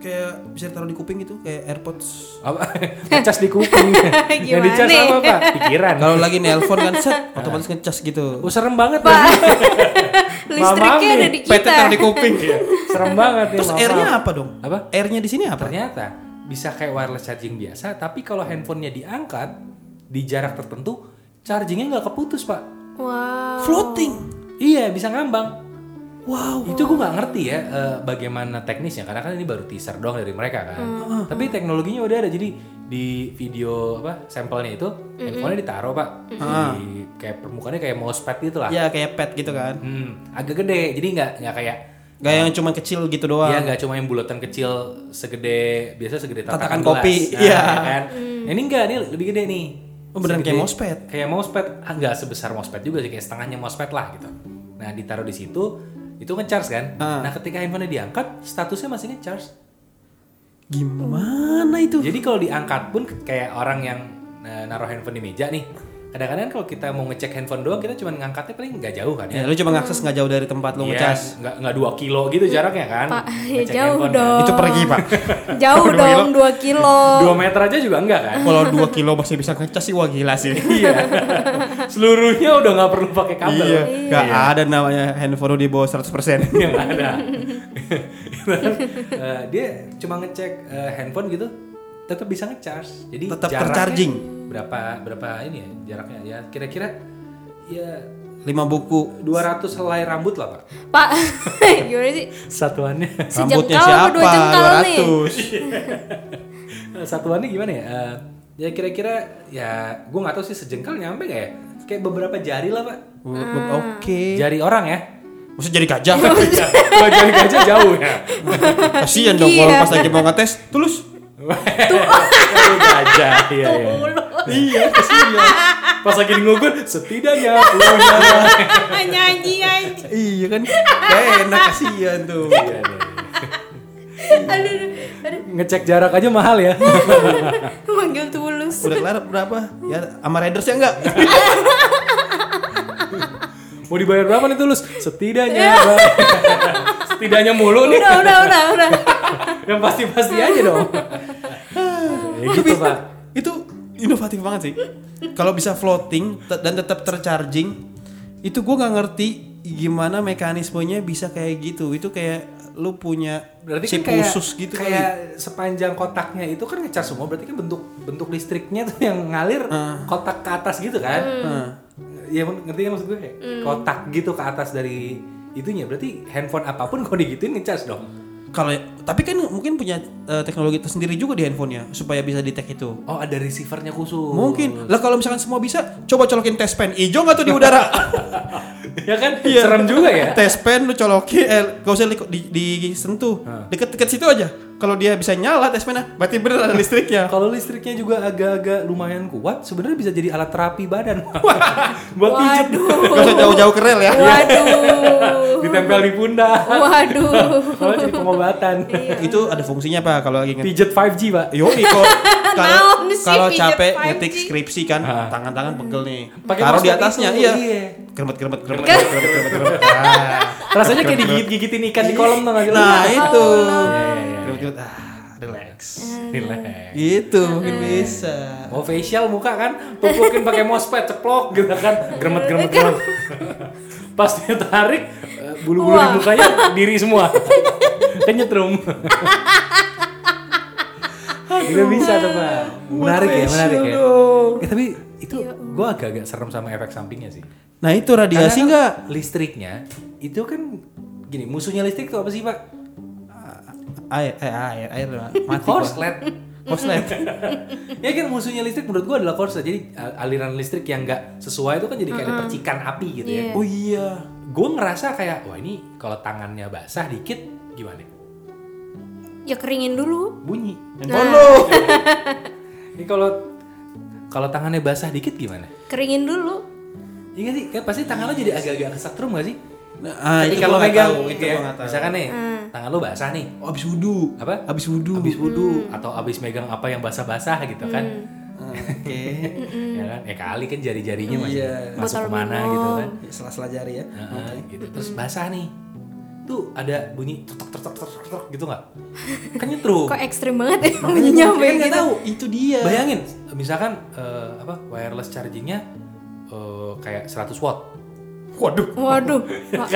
[SPEAKER 3] kayak bisa taruh di kuping gitu, kayak AirPods.
[SPEAKER 1] Apa? Ngecas di kuping. Yang dicas
[SPEAKER 2] Gimana?
[SPEAKER 1] apa, Pak? Pikiran.
[SPEAKER 3] Kalau lagi nelpon kan set,
[SPEAKER 1] Nah.
[SPEAKER 3] otomatis ngecas gitu.
[SPEAKER 1] Oh, serem banget, Pak.
[SPEAKER 2] Listriknya ada di
[SPEAKER 3] PT
[SPEAKER 2] kita.
[SPEAKER 3] taruh di kuping.
[SPEAKER 1] Iya, serem banget nih,
[SPEAKER 3] Terus
[SPEAKER 1] Mama.
[SPEAKER 3] airnya apa dong?
[SPEAKER 1] Apa?
[SPEAKER 3] Airnya di sini apa?
[SPEAKER 1] ternyata bisa kayak wireless charging biasa tapi kalau handphonenya diangkat di jarak tertentu chargingnya nggak keputus pak
[SPEAKER 2] Wow.
[SPEAKER 3] Floating.
[SPEAKER 1] iya bisa ngambang
[SPEAKER 3] Wow.
[SPEAKER 1] itu gue nggak ngerti ya eh, bagaimana teknisnya karena kan ini baru teaser doang dari mereka kan tapi teknologinya udah ada jadi di video apa sampelnya itu handphonenya ditaruh pak
[SPEAKER 3] Ah.
[SPEAKER 1] di
[SPEAKER 3] Iya.
[SPEAKER 1] kayak permukaannya kayak mousepad gitu lah
[SPEAKER 3] Ya kayak pet gitu kan.
[SPEAKER 1] Hmm, agak gede jadi nggak nggak kayak
[SPEAKER 3] Gak yang cuma kecil gitu doang.
[SPEAKER 1] Iya nggak cuma yang bulatan kecil segede biasa segede tatakan,
[SPEAKER 3] Tatakan kopi,
[SPEAKER 1] gelas.
[SPEAKER 3] iya.
[SPEAKER 1] ya kan. Ini enggak, ini lebih gede nih.
[SPEAKER 3] Oh, beneran kayak
[SPEAKER 1] Segede-
[SPEAKER 3] mousepad?
[SPEAKER 1] Kayak mousepad, ah, nggak sebesar mousepad juga sih, kayak setengahnya mousepad lah gitu. Nah ditaruh di situ, itu ngecharge kan.
[SPEAKER 3] Ah.
[SPEAKER 1] Nah ketika handphonenya diangkat, statusnya masih ngecharge.
[SPEAKER 3] Gimana itu?
[SPEAKER 1] Jadi kalau diangkat pun kayak orang yang eh, naruh handphone di meja nih. Kadang-kadang kalau kita mau ngecek handphone doang, kita cuma ngangkatnya paling nggak jauh kan ya.
[SPEAKER 3] Ya, lu cuma ngakses nggak jauh dari tempat
[SPEAKER 1] Iya,
[SPEAKER 3] lu ngecas.
[SPEAKER 1] nggak nggak dua kilo gitu jaraknya kan?
[SPEAKER 2] Pak, ya
[SPEAKER 1] Ngecek
[SPEAKER 2] jauh
[SPEAKER 1] handphone kan.
[SPEAKER 2] dong.
[SPEAKER 3] Itu pergi, Pak.
[SPEAKER 2] Jauh
[SPEAKER 3] Dua
[SPEAKER 2] dong, 2 kilo.
[SPEAKER 1] Dua meter aja juga enggak kan?
[SPEAKER 3] Kalau 2 kilo masih bisa ngecas sih wah gila sih.
[SPEAKER 1] Iya. Seluruhnya udah nggak perlu pakai kabel.
[SPEAKER 3] iya. Gak ada namanya handphone lu di bawah 100%.
[SPEAKER 1] Yang ada. Eh, dia cuma ngecek eh, handphone gitu, tetap bisa ngecharge. Jadi
[SPEAKER 3] Tetap
[SPEAKER 1] jaraknya
[SPEAKER 3] tercharging.
[SPEAKER 1] Berapa berapa ini ya jaraknya ya? Kira-kira ya
[SPEAKER 3] 5 buku.
[SPEAKER 1] 200 helai rambut lah pak.
[SPEAKER 2] Pak, gimana sih?
[SPEAKER 1] Satuannya
[SPEAKER 3] Rambutnya
[SPEAKER 2] Sejengkal apa
[SPEAKER 3] siapa?
[SPEAKER 2] dua jengkal nih?
[SPEAKER 3] 200.
[SPEAKER 1] satuannya gimana ya? Eh, ya kira-kira ya gue nggak tahu sih sejengkal nyampe nggak ya? Kayak beberapa jari lah pak.
[SPEAKER 2] Ah.
[SPEAKER 3] Oke.
[SPEAKER 1] Jari orang ya.
[SPEAKER 3] Maksudnya jadi gajah.
[SPEAKER 2] Oh, iya.
[SPEAKER 1] Ya, Kalau jari gajah jauh ya.
[SPEAKER 3] Kasihan dong kalau
[SPEAKER 2] Iya.
[SPEAKER 3] pas lagi mau ngetes, tulus.
[SPEAKER 1] Aduh, gajah iya
[SPEAKER 2] Tuh,
[SPEAKER 1] iya.
[SPEAKER 2] mulu.
[SPEAKER 1] Iya, kesian. Pas lagi ngugur, setidaknya punya.
[SPEAKER 2] Nyanyi aja.
[SPEAKER 3] Iya kan? Gak enak kasihan tuh.
[SPEAKER 1] Iya,
[SPEAKER 2] Aduh, aduh.
[SPEAKER 1] Ngecek jarak aja mahal ya.
[SPEAKER 2] aduh. Manggil tulus.
[SPEAKER 3] Udah kelar berapa? Ya sama Raiders ya enggak?
[SPEAKER 1] Mau dibayar berapa nih tulus? Setidaknya.
[SPEAKER 3] Iya.
[SPEAKER 1] Bang. setidaknya mulu nih.
[SPEAKER 2] Udah, udah, udah, udah.
[SPEAKER 1] Yang pasti-pasti aja dong. ya gitu, Pak.
[SPEAKER 3] Itu inovatif banget sih. Kalau bisa floating te- dan tetap tercharging, itu gua nggak ngerti gimana mekanismenya bisa kayak gitu. Itu kayak lu punya
[SPEAKER 1] Berarti
[SPEAKER 3] chip
[SPEAKER 1] kan kayak,
[SPEAKER 3] khusus gitu
[SPEAKER 1] kayak sepanjang kotaknya itu kan ngecas semua. Berarti kan bentuk bentuk listriknya tuh yang ngalir
[SPEAKER 3] Ah.
[SPEAKER 1] kotak ke atas gitu kan.
[SPEAKER 3] kali. Nah,
[SPEAKER 1] Ya ngerti kan maksud gue? Kayak
[SPEAKER 3] Hmm.
[SPEAKER 1] Kotak gitu ke atas dari itunya. Berarti handphone apapun kalau digituin ngecas dong.
[SPEAKER 3] Kalau tapi kan mungkin punya eh, teknologi tersendiri juga di handphonenya supaya bisa detect itu.
[SPEAKER 1] Oh ada receivernya khusus. Oh.
[SPEAKER 3] Mungkin lah kalau misalkan semua bisa, coba colokin tes pen hijau nggak tuh di udara?
[SPEAKER 1] ya kan?
[SPEAKER 3] Iya.
[SPEAKER 1] Serem juga ya.
[SPEAKER 3] Tes pen lu colokin, eh, gak usah li- di, disentuh, deket-deket situ aja. Kalau dia bisa nyala tes pennya, berarti bener ada listriknya.
[SPEAKER 1] Nah, Kalau listriknya juga agak-agak lumayan kuat, sebenarnya bisa jadi alat terapi badan. Buat pijet
[SPEAKER 2] Waduh.
[SPEAKER 3] Gak usah jauh-jauh ke rel ya.
[SPEAKER 2] Iya. Waduh.
[SPEAKER 1] ditempel di pundak.
[SPEAKER 2] Waduh.
[SPEAKER 1] Kalau jadi pengobatan.
[SPEAKER 3] Itu ada fungsinya pak kalau lagi ngetik.
[SPEAKER 1] Pijet 5G, Pak.
[SPEAKER 3] Yo kalau kalau
[SPEAKER 2] Naon sih
[SPEAKER 3] kalau
[SPEAKER 2] pijat
[SPEAKER 3] capek
[SPEAKER 2] 5G?
[SPEAKER 3] ngetik skripsi kan
[SPEAKER 1] Ah.
[SPEAKER 3] tangan-tangan pegel nih.
[SPEAKER 1] Pakai
[SPEAKER 3] Taruh di
[SPEAKER 1] mousepad
[SPEAKER 3] atasnya,
[SPEAKER 1] itu,
[SPEAKER 3] iya.
[SPEAKER 1] iya.
[SPEAKER 3] Kremet kremet kremet kremet kremet kremet, kremet. Ah.
[SPEAKER 1] Rasanya kayak digigit-gigitin ikan di kolam tuh nggak
[SPEAKER 3] Nah
[SPEAKER 1] Iya, iya,
[SPEAKER 3] itu.
[SPEAKER 1] iya.
[SPEAKER 3] Kremet kremet. Ah, relax.
[SPEAKER 1] Relax.
[SPEAKER 3] Gitu mungkin bisa.
[SPEAKER 1] Mau facial muka kan, pupukin pakai mousepad ceplok gitu kan, gremet gremet gremet. Pas dia tarik eh, bulu-bulu di
[SPEAKER 2] Wah.
[SPEAKER 1] mukanya diri semua. Kenyetrum. Udah bisa tuh Pak. Menarik ya, menarik ya. Ya, tapi itu gue agak-agak serem sama efek sampingnya sih.
[SPEAKER 3] Nah itu radiasi
[SPEAKER 1] Karena
[SPEAKER 3] nggak?
[SPEAKER 1] kan Listriknya itu kan gini, musuhnya listrik itu apa sih Pak?
[SPEAKER 3] Ah, Air, eh, air, air mati. gua.
[SPEAKER 1] Korslet.
[SPEAKER 3] Korslet.
[SPEAKER 1] ya kan musuhnya listrik menurut gua adalah korslet. Jadi al- aliran listrik yang nggak sesuai itu kan jadi kayak ada percikan api gitu ya.
[SPEAKER 3] Oh iya.
[SPEAKER 1] Gue ngerasa kayak wah ini kalau tangannya basah dikit gimana?
[SPEAKER 2] Ya keringin dulu.
[SPEAKER 1] Bunyi.
[SPEAKER 3] Handphone lu.
[SPEAKER 1] Ini kalau kalau tangannya basah dikit gimana?
[SPEAKER 2] Keringin dulu.
[SPEAKER 1] Iya nggak sih, kan pasti tangan lo jadi agak-agak kesetrum gak sih?
[SPEAKER 3] Nah, ah, itu
[SPEAKER 1] Ketika
[SPEAKER 3] gua
[SPEAKER 1] lo
[SPEAKER 3] nggak
[SPEAKER 1] megang
[SPEAKER 3] tahu,
[SPEAKER 1] gitu
[SPEAKER 3] itu
[SPEAKER 1] ya.
[SPEAKER 3] gua nggak tahu.
[SPEAKER 1] Misalkan nih,
[SPEAKER 2] Mm.
[SPEAKER 1] tangan lo basah nih.
[SPEAKER 3] Oh, abis wudu.
[SPEAKER 1] Apa?
[SPEAKER 3] Abis wudu.
[SPEAKER 1] Abis wudhu
[SPEAKER 2] Mm.
[SPEAKER 1] atau abis megang apa yang basah-basah gitu kan.
[SPEAKER 3] Ah, Oke.
[SPEAKER 1] Ya kan? Ya kali kan jari-jarinya masih
[SPEAKER 3] Iya.
[SPEAKER 1] masuk
[SPEAKER 2] Mm. Botol
[SPEAKER 1] kemana
[SPEAKER 2] minum.
[SPEAKER 1] gitu kan.
[SPEAKER 3] Selas-selas jari ya.
[SPEAKER 1] Heeh, gitu. Terus basah nih. Tuh ada bunyi tok tok tok tok tok, tok gitu nggak? Kan nyetrum.
[SPEAKER 2] Kok ekstrim banget ya bunyinya
[SPEAKER 3] Kan
[SPEAKER 2] sampai
[SPEAKER 3] nggak
[SPEAKER 2] gitu.
[SPEAKER 3] tahu, itu dia.
[SPEAKER 1] Bayangin, misalkan eh, apa wireless chargingnya eh, kayak 100 watt.
[SPEAKER 3] Waduh.
[SPEAKER 2] Waduh, Pak,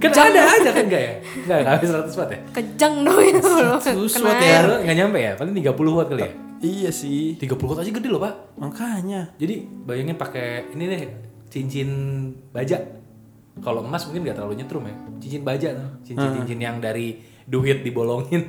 [SPEAKER 1] Kan kan ada aja kan nggak ya? Nggak nggak habis 100 watt ya?
[SPEAKER 2] kejang dong itu loh.
[SPEAKER 3] watt
[SPEAKER 2] Kena
[SPEAKER 3] ya.
[SPEAKER 1] Nggak nggak nyampe ya? Paling 30 watt kali ya?
[SPEAKER 3] Iya sih.
[SPEAKER 1] 30 watt aja gede loh pak.
[SPEAKER 3] Makanya.
[SPEAKER 1] Jadi bayangin pakai ini deh cincin baja. Kalau emas mungkin nggak terlalu nyetrum ya. Cincin baja tuh, cincin-cincin yang dari duit dibolongin.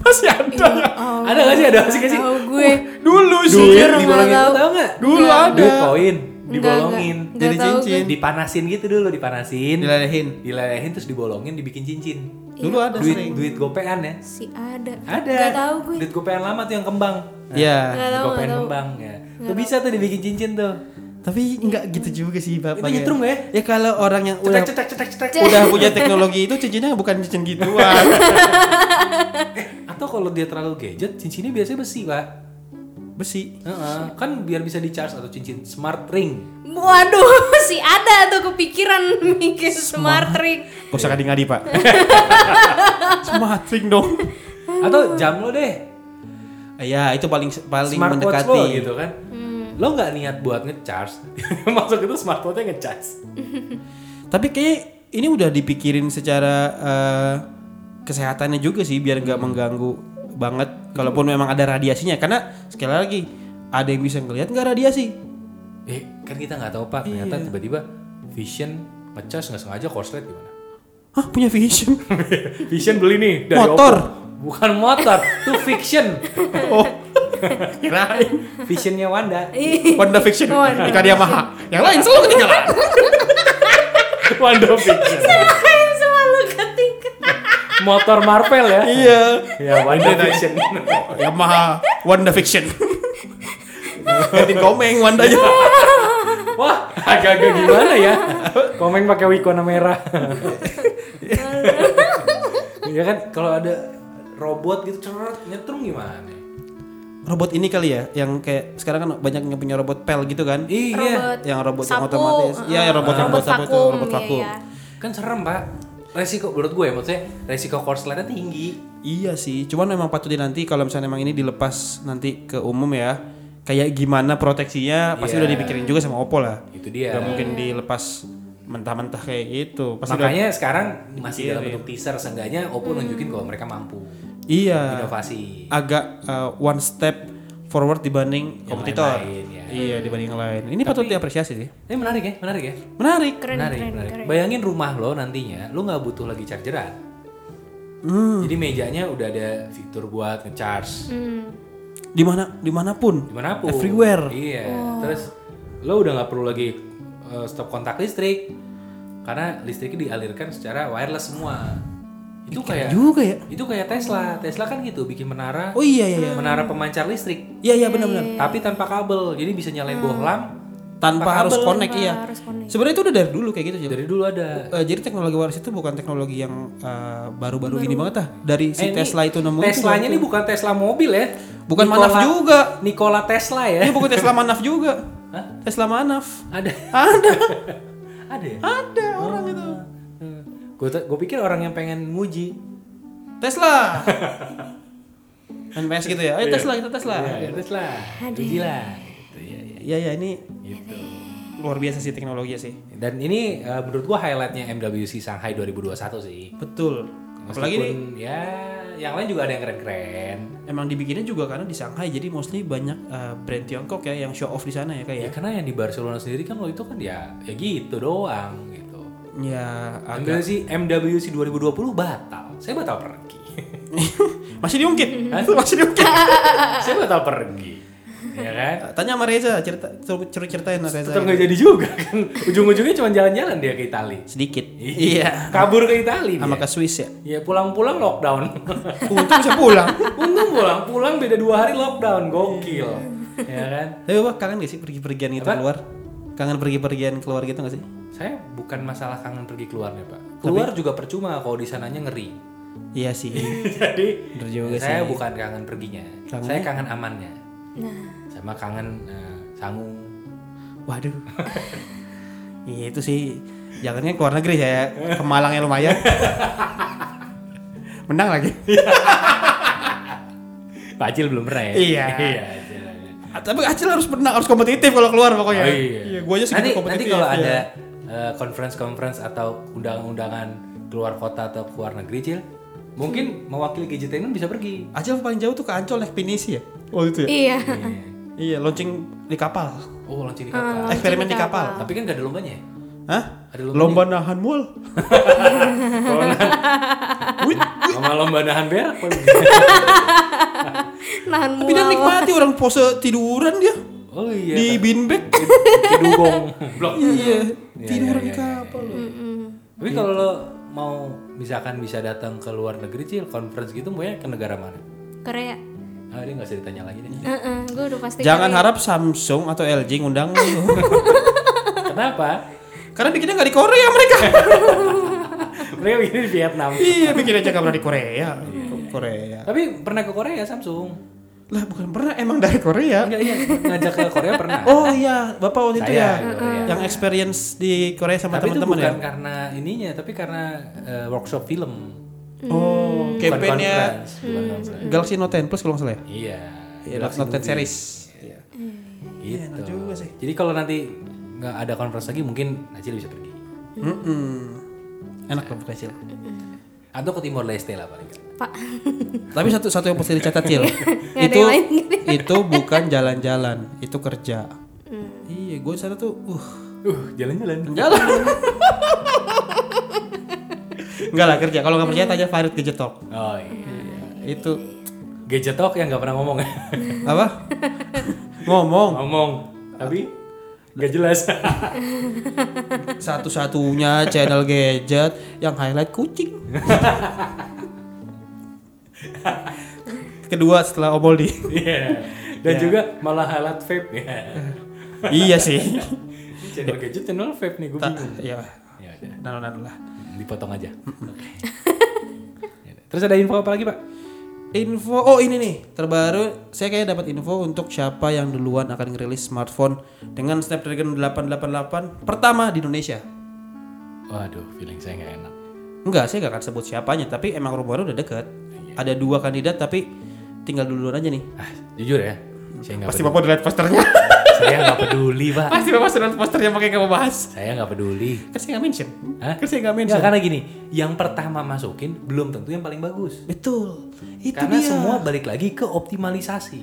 [SPEAKER 3] Masih ada. ya?
[SPEAKER 1] ada nggak sih? Ada nggak sih? Nggak sih?
[SPEAKER 2] tahu Iya, gue.
[SPEAKER 3] Dulu sih.
[SPEAKER 1] Duit
[SPEAKER 2] Nggak
[SPEAKER 1] dibolongin
[SPEAKER 2] tahu.
[SPEAKER 1] tau nggak?
[SPEAKER 3] Dulu ada.
[SPEAKER 1] Duit koin. dibolongin,
[SPEAKER 2] Nggak
[SPEAKER 3] Jadi
[SPEAKER 2] tahu gue.
[SPEAKER 3] cincin.
[SPEAKER 1] dipanasin gitu dulu, dipanasin,
[SPEAKER 3] dilelehin.
[SPEAKER 1] dilelehin terus dibolongin, dibikin cincin.
[SPEAKER 3] Dulu ada
[SPEAKER 1] duit
[SPEAKER 3] sering.
[SPEAKER 1] duit gopean ya.
[SPEAKER 2] Si ada.
[SPEAKER 1] Ada.
[SPEAKER 2] Gak tau gue.
[SPEAKER 1] Duit gopean lama tuh yang kembang.
[SPEAKER 3] Iya.
[SPEAKER 2] Nggak tahu,
[SPEAKER 1] gopean
[SPEAKER 2] nggak tahu.
[SPEAKER 1] kembang ya. Tuh bisa tuh dibikin cincin tuh.
[SPEAKER 3] Tapi nggak gitu juga sih bapak.
[SPEAKER 1] Itu nyetrum nggak ya?
[SPEAKER 3] Ya kalau orang yang udah
[SPEAKER 1] Cetek cetek cetek cetek.
[SPEAKER 3] udah punya teknologi itu cincinnya bukan cincin gituan.
[SPEAKER 1] Atau kalau dia terlalu gadget, cincinnya biasanya besi, Pak.
[SPEAKER 3] Besi.
[SPEAKER 1] Heeh. Kan biar bisa di-charge atau cincin smart ring.
[SPEAKER 2] Waduh, si ada tuh kepikiran mikir smart ring.
[SPEAKER 3] Gak usah ngadi-ngadi pak. Smart ring dong.
[SPEAKER 1] Atau jam lo deh.
[SPEAKER 3] Ya itu paling paling
[SPEAKER 1] smartwatch
[SPEAKER 3] mendekati.
[SPEAKER 1] lo gitu kan. Lo nggak niat buat nge-charge. Masuk itu smartwatch-nya nge-charge.
[SPEAKER 3] Tapi kayak ini udah dipikirin secara eh, kesehatannya juga sih biar nggak mengganggu banget. Kalaupun memang ada radiasinya karena sekali lagi ada yang bisa ngelihat nggak radiasi.
[SPEAKER 1] Eh, kan kita nggak tahu Pak, ternyata tiba-tiba vision nge-charge nggak sengaja korslet gimana?
[SPEAKER 3] Hah punya vision?
[SPEAKER 1] Vision beli nih
[SPEAKER 3] Motor.
[SPEAKER 1] Oppo. Bukan motor, tuh fiction.
[SPEAKER 3] oh kirain
[SPEAKER 1] Visionnya Wanda.
[SPEAKER 3] Wanda Fiction
[SPEAKER 2] Wanda.
[SPEAKER 3] Ika Yamaha. Yang lain selalu ketinggalan.
[SPEAKER 1] Wanda fiction.
[SPEAKER 2] Saya selalu ketinggalan.
[SPEAKER 1] Motor Marvel ya.
[SPEAKER 3] iya.
[SPEAKER 1] Ya Wanda fiction.
[SPEAKER 3] Yamaha Wanda Fiction. Ganti komeng Wanda aja.
[SPEAKER 1] Wah, agak-agak gimana ya? Komeng pakai wikona merah. Iya kan kalau ada robot gitu cerut nyetrum gimana?
[SPEAKER 3] Robot ini kali ya yang kayak sekarang kan banyak yang punya robot pel gitu kan.
[SPEAKER 1] Iya.
[SPEAKER 2] Robot.
[SPEAKER 3] yang robot yang
[SPEAKER 2] Sapu,
[SPEAKER 3] otomatis. Iya,
[SPEAKER 2] eh,
[SPEAKER 3] yang robot yang
[SPEAKER 2] robot
[SPEAKER 3] buat sapu itu,
[SPEAKER 2] vakum,
[SPEAKER 3] robot
[SPEAKER 2] iya,
[SPEAKER 3] vakum.
[SPEAKER 2] iya.
[SPEAKER 1] Kan serem, Pak. Resiko menurut gue ya, maksudnya resiko korsletnya tinggi.
[SPEAKER 3] Iya sih, cuman memang patut nanti kalau misalnya memang ini dilepas nanti ke umum ya. Kayak gimana proteksinya pasti
[SPEAKER 1] Iya.
[SPEAKER 3] udah dipikirin juga sama Oppo lah.
[SPEAKER 1] Itu dia.
[SPEAKER 3] Gak mungkin dilepas mentah-mentah kayak gitu. Pasti udah-
[SPEAKER 1] Makanya sekarang masih dalam bentuk teaser seenggaknya Oppo nunjukin kalau mereka mampu
[SPEAKER 3] iya.
[SPEAKER 1] inovasi.
[SPEAKER 3] Agak uh, one step forward dibanding kompetitor.
[SPEAKER 1] lain-lain, ya.
[SPEAKER 3] Iya, dibanding yang lain. Ini patut diapresiasi sih.
[SPEAKER 1] Ini menarik ya, menarik ya.
[SPEAKER 3] Menarik.
[SPEAKER 2] Keren,
[SPEAKER 1] menarik,
[SPEAKER 2] keren,
[SPEAKER 1] menarik.
[SPEAKER 2] keren.
[SPEAKER 1] Bayangin rumah lo nantinya, lo nggak butuh lagi chargeran.
[SPEAKER 3] Hmm.
[SPEAKER 1] Jadi mejanya udah ada fitur buat ngecharge
[SPEAKER 2] Hmm.
[SPEAKER 3] Di mana dimanapun.
[SPEAKER 1] dimanapun.
[SPEAKER 3] Everywhere.
[SPEAKER 1] Iya.
[SPEAKER 2] Oh.
[SPEAKER 1] Terus lo udah nggak perlu lagi eh, stop kontak listrik karena listriknya dialirkan secara wireless semua. Itu kayak
[SPEAKER 3] Juga ya.
[SPEAKER 1] itu kayak Tesla. Tesla kan gitu bikin menara.
[SPEAKER 3] Oh iya iya iya.
[SPEAKER 1] Menara pemancar listrik.
[SPEAKER 3] Iya iya benar-benar.
[SPEAKER 1] Tapi tanpa kabel. Jadi bisa nyalain
[SPEAKER 2] Hmm.
[SPEAKER 1] bohlam
[SPEAKER 3] Tanpa harus
[SPEAKER 1] kabel.
[SPEAKER 3] connect iya.
[SPEAKER 2] Harus connect.
[SPEAKER 3] Sebenarnya itu udah dari dulu kayak gitu sih.
[SPEAKER 1] Dari dulu ada.
[SPEAKER 3] Eh, jadi teknologi waris itu bukan teknologi yang eh, baru-baru ini banget ah. Dari si
[SPEAKER 1] Eh, ini
[SPEAKER 3] Tesla itu nemu
[SPEAKER 1] Teslanya ini bukan Tesla mobil ya.
[SPEAKER 3] Bukan Manaf juga.
[SPEAKER 1] Nikola Tesla ya.
[SPEAKER 3] Ini bukan Tesla Manaf juga.
[SPEAKER 1] Hah?
[SPEAKER 3] Tesla Manaf.
[SPEAKER 1] Ada.
[SPEAKER 3] Ada.
[SPEAKER 1] Ada ya?
[SPEAKER 3] Ada orang itu.
[SPEAKER 1] Gue pikir orang yang pengen nguji.
[SPEAKER 3] Tesla. NPS gitu ya. Ayo Tesla, kita Tesla.
[SPEAKER 1] Ya, Tesla. Uji lah. Gitu, ya, ya.
[SPEAKER 3] Iya ya ini
[SPEAKER 1] Gitu.
[SPEAKER 3] luar biasa sih teknologi sih.
[SPEAKER 1] Dan ini eh, menurut gua highlightnya MWC Shanghai 2021 sih.
[SPEAKER 3] Betul. Apalagi ini
[SPEAKER 1] Meskipun ya yang lain juga ada yang keren-keren.
[SPEAKER 3] emang dibikinnya juga karena di Shanghai jadi mostly banyak eh, brand Tiongkok ya yang show off di sana ya
[SPEAKER 1] Ya
[SPEAKER 3] kayak.
[SPEAKER 1] karena yang di Barcelona sendiri kan lo itu kan ya ya gitu doang gitu.
[SPEAKER 3] Ya agak
[SPEAKER 1] MWC MWC 2020 batal. Saya batal pergi.
[SPEAKER 3] masih diungkit. masih diungkit.
[SPEAKER 1] Saya batal pergi. Ya kan?
[SPEAKER 3] Tanya sama Reza, cerita suruh suruh ceritain sama Reza.
[SPEAKER 1] Tetap nggak jadi juga kan. Ujung-ujungnya cuma jalan-jalan dia ke Itali.
[SPEAKER 3] Sedikit. Iya.
[SPEAKER 1] Kabur ke Itali.
[SPEAKER 3] Sama
[SPEAKER 1] dia.
[SPEAKER 3] ke Swiss ya.
[SPEAKER 1] Ya pulang-pulang lockdown.
[SPEAKER 3] Untung bisa pulang.
[SPEAKER 1] Untung pulang-pulang beda dua hari lockdown. Gokil.
[SPEAKER 3] Iya.
[SPEAKER 1] ya kan?
[SPEAKER 3] Tapi Bapak kangen gak sih pergi-pergian gitu
[SPEAKER 1] Apa?
[SPEAKER 3] keluar? Kangen pergi-pergian keluar gitu gak sih?
[SPEAKER 1] Saya bukan masalah kangen pergi keluarnya pak. Keluar juga percuma kalau di sananya ngeri.
[SPEAKER 3] Iya sih.
[SPEAKER 1] Jadi
[SPEAKER 3] Bener juga ya?
[SPEAKER 1] saya bukan kangen perginya.
[SPEAKER 3] Kangennya?
[SPEAKER 1] Saya kangen amannya.
[SPEAKER 2] Nah,
[SPEAKER 1] Sama kangen eh, sangu.
[SPEAKER 3] Waduh. Iya itu sih. Jangannya keluar negeri saya ke Malang yang lumayan. Menang lagi.
[SPEAKER 1] Pak Acil belum pernah ya?
[SPEAKER 3] Iya.
[SPEAKER 1] iya. Acil, Acil.
[SPEAKER 3] Ah, Tapi Acil harus menang, harus kompetitif kalau keluar pokoknya.
[SPEAKER 1] Oh, iya.
[SPEAKER 3] gua aja segitu
[SPEAKER 1] nanti, nanti
[SPEAKER 3] kompetitif.
[SPEAKER 1] kalau
[SPEAKER 3] ya.
[SPEAKER 1] ada eh, conference-conference atau undangan-undangan keluar kota atau keluar negeri, Cil,
[SPEAKER 3] Hmm.
[SPEAKER 1] mungkin mewakili gadgetainment bisa pergi.
[SPEAKER 3] Acil paling jauh tuh ke Ancol naik pinisi ya. Waktu itu ya.
[SPEAKER 2] iya.
[SPEAKER 3] Iya, launching di kapal.
[SPEAKER 1] oh, launching di kapal.
[SPEAKER 3] Eh, Eksperimen di kapal.
[SPEAKER 1] Tapi kan gak ada lombanya ya?
[SPEAKER 3] Hah?
[SPEAKER 1] Ada
[SPEAKER 3] Lomba nahan mual.
[SPEAKER 1] Sama lomba nahan berak. Pak.
[SPEAKER 2] Nahan
[SPEAKER 3] Tapi dia
[SPEAKER 2] mual.
[SPEAKER 3] nikmati orang pose tiduran dia.
[SPEAKER 1] Oh iya.
[SPEAKER 3] di beanbag
[SPEAKER 1] kedugong blok.
[SPEAKER 3] iya
[SPEAKER 1] Iya,
[SPEAKER 3] tidur
[SPEAKER 1] iya,
[SPEAKER 3] di
[SPEAKER 1] iya,
[SPEAKER 3] kapal lu.
[SPEAKER 1] Tapi kalau lo mau misalkan bisa datang ke luar negeri cil conference gitu maunya ke negara mana?
[SPEAKER 2] Korea.
[SPEAKER 1] Ah ini nggak usah ditanya lagi deh.
[SPEAKER 2] Heeh, gue udah pasti
[SPEAKER 3] jangan
[SPEAKER 2] Korea.
[SPEAKER 3] harap Samsung atau LG ngundang lu
[SPEAKER 1] Kenapa?
[SPEAKER 3] karena bikinnya nggak di Korea mereka
[SPEAKER 1] Mereka bikin di Vietnam.
[SPEAKER 3] iya bikin aja nggak pernah di Korea Iya, Korea
[SPEAKER 1] Tapi pernah ke Korea Samsung?
[SPEAKER 3] lah bukan pernah emang dari Korea
[SPEAKER 1] Enggak iya ngajak ke Korea pernah.
[SPEAKER 3] oh iya bapak waktu itu ya
[SPEAKER 1] Saya, Korea.
[SPEAKER 3] yang experience di Korea sama
[SPEAKER 1] tapi itu
[SPEAKER 3] teman-teman ya
[SPEAKER 1] bukan karena ininya, tapi karena eh, workshop film.
[SPEAKER 3] oh
[SPEAKER 1] Bukan
[SPEAKER 3] campaignnya
[SPEAKER 1] conference, bukan conference.
[SPEAKER 3] Galaxy Note 10 Plus kalau nggak salah ya
[SPEAKER 1] Iya.
[SPEAKER 3] Iya,
[SPEAKER 1] Galaxy
[SPEAKER 3] Note 10
[SPEAKER 1] Movie.
[SPEAKER 3] series Iya.
[SPEAKER 1] Gitu.
[SPEAKER 3] enak juga sih.
[SPEAKER 1] Jadi kalau nanti nggak ada conference lagi mungkin Najil bisa pergi.
[SPEAKER 3] Mm-mm. enak loh berhasil
[SPEAKER 1] Atau ke Timor Leste lah paling. nggak.
[SPEAKER 2] Pak.
[SPEAKER 3] tapi satu satu yang pasti dicatat cil
[SPEAKER 2] yang
[SPEAKER 3] itu
[SPEAKER 2] lain
[SPEAKER 3] itu bukan jalan-jalan itu kerja
[SPEAKER 2] Hmm.
[SPEAKER 3] iya gue sana tuh uh
[SPEAKER 1] Uh, jalan-jalan.
[SPEAKER 3] jalan Enggak lah kerja kalau nggak percaya tanya Farid Gadget Talk
[SPEAKER 1] Oh iya.
[SPEAKER 3] itu
[SPEAKER 1] Gadget talk yang nggak pernah ngomong ya.
[SPEAKER 3] apa ngomong
[SPEAKER 1] ngomong, tapi nggak jelas.
[SPEAKER 3] satu-satunya channel gadget yang highlight kucing kedua setelah Omoldi
[SPEAKER 1] Iya. Dan juga malah halat vape ya.
[SPEAKER 3] iya sih
[SPEAKER 1] Ini channel gadget channel vape nih gue
[SPEAKER 3] tak
[SPEAKER 1] bingung.
[SPEAKER 3] ya
[SPEAKER 1] Ya udah.
[SPEAKER 3] nano-nano lah
[SPEAKER 1] dipotong aja. Oke. Ya udah. Terus ada info apa lagi pak?
[SPEAKER 3] Info, oh ini nih terbaru. Saya kayak dapat info untuk siapa yang duluan akan ngerilis smartphone dengan Snapdragon 888 pertama di Indonesia.
[SPEAKER 1] Waduh, feeling saya nggak enak.
[SPEAKER 3] Enggak, saya nggak akan sebut siapanya, tapi emang rumornya udah deket. Ada dua kandidat, tapi tinggal duluan aja nih.
[SPEAKER 1] Ah, jujur ya, saya nggak peduli.
[SPEAKER 3] bapak udah lihat posternya.
[SPEAKER 1] Saya nggak peduli pak.
[SPEAKER 3] Pasti bapak sudah lihat posternya pakai kamu bahas.
[SPEAKER 1] Saya nggak peduli.
[SPEAKER 3] Kan saya nggak mention.
[SPEAKER 1] Hah?
[SPEAKER 3] Kan saya nggak mention.
[SPEAKER 1] Nggak, karena gini, yang pertama masukin belum tentu yang paling bagus.
[SPEAKER 3] Betul. Itu
[SPEAKER 1] karena
[SPEAKER 3] dia.
[SPEAKER 1] semua balik lagi ke optimalisasi.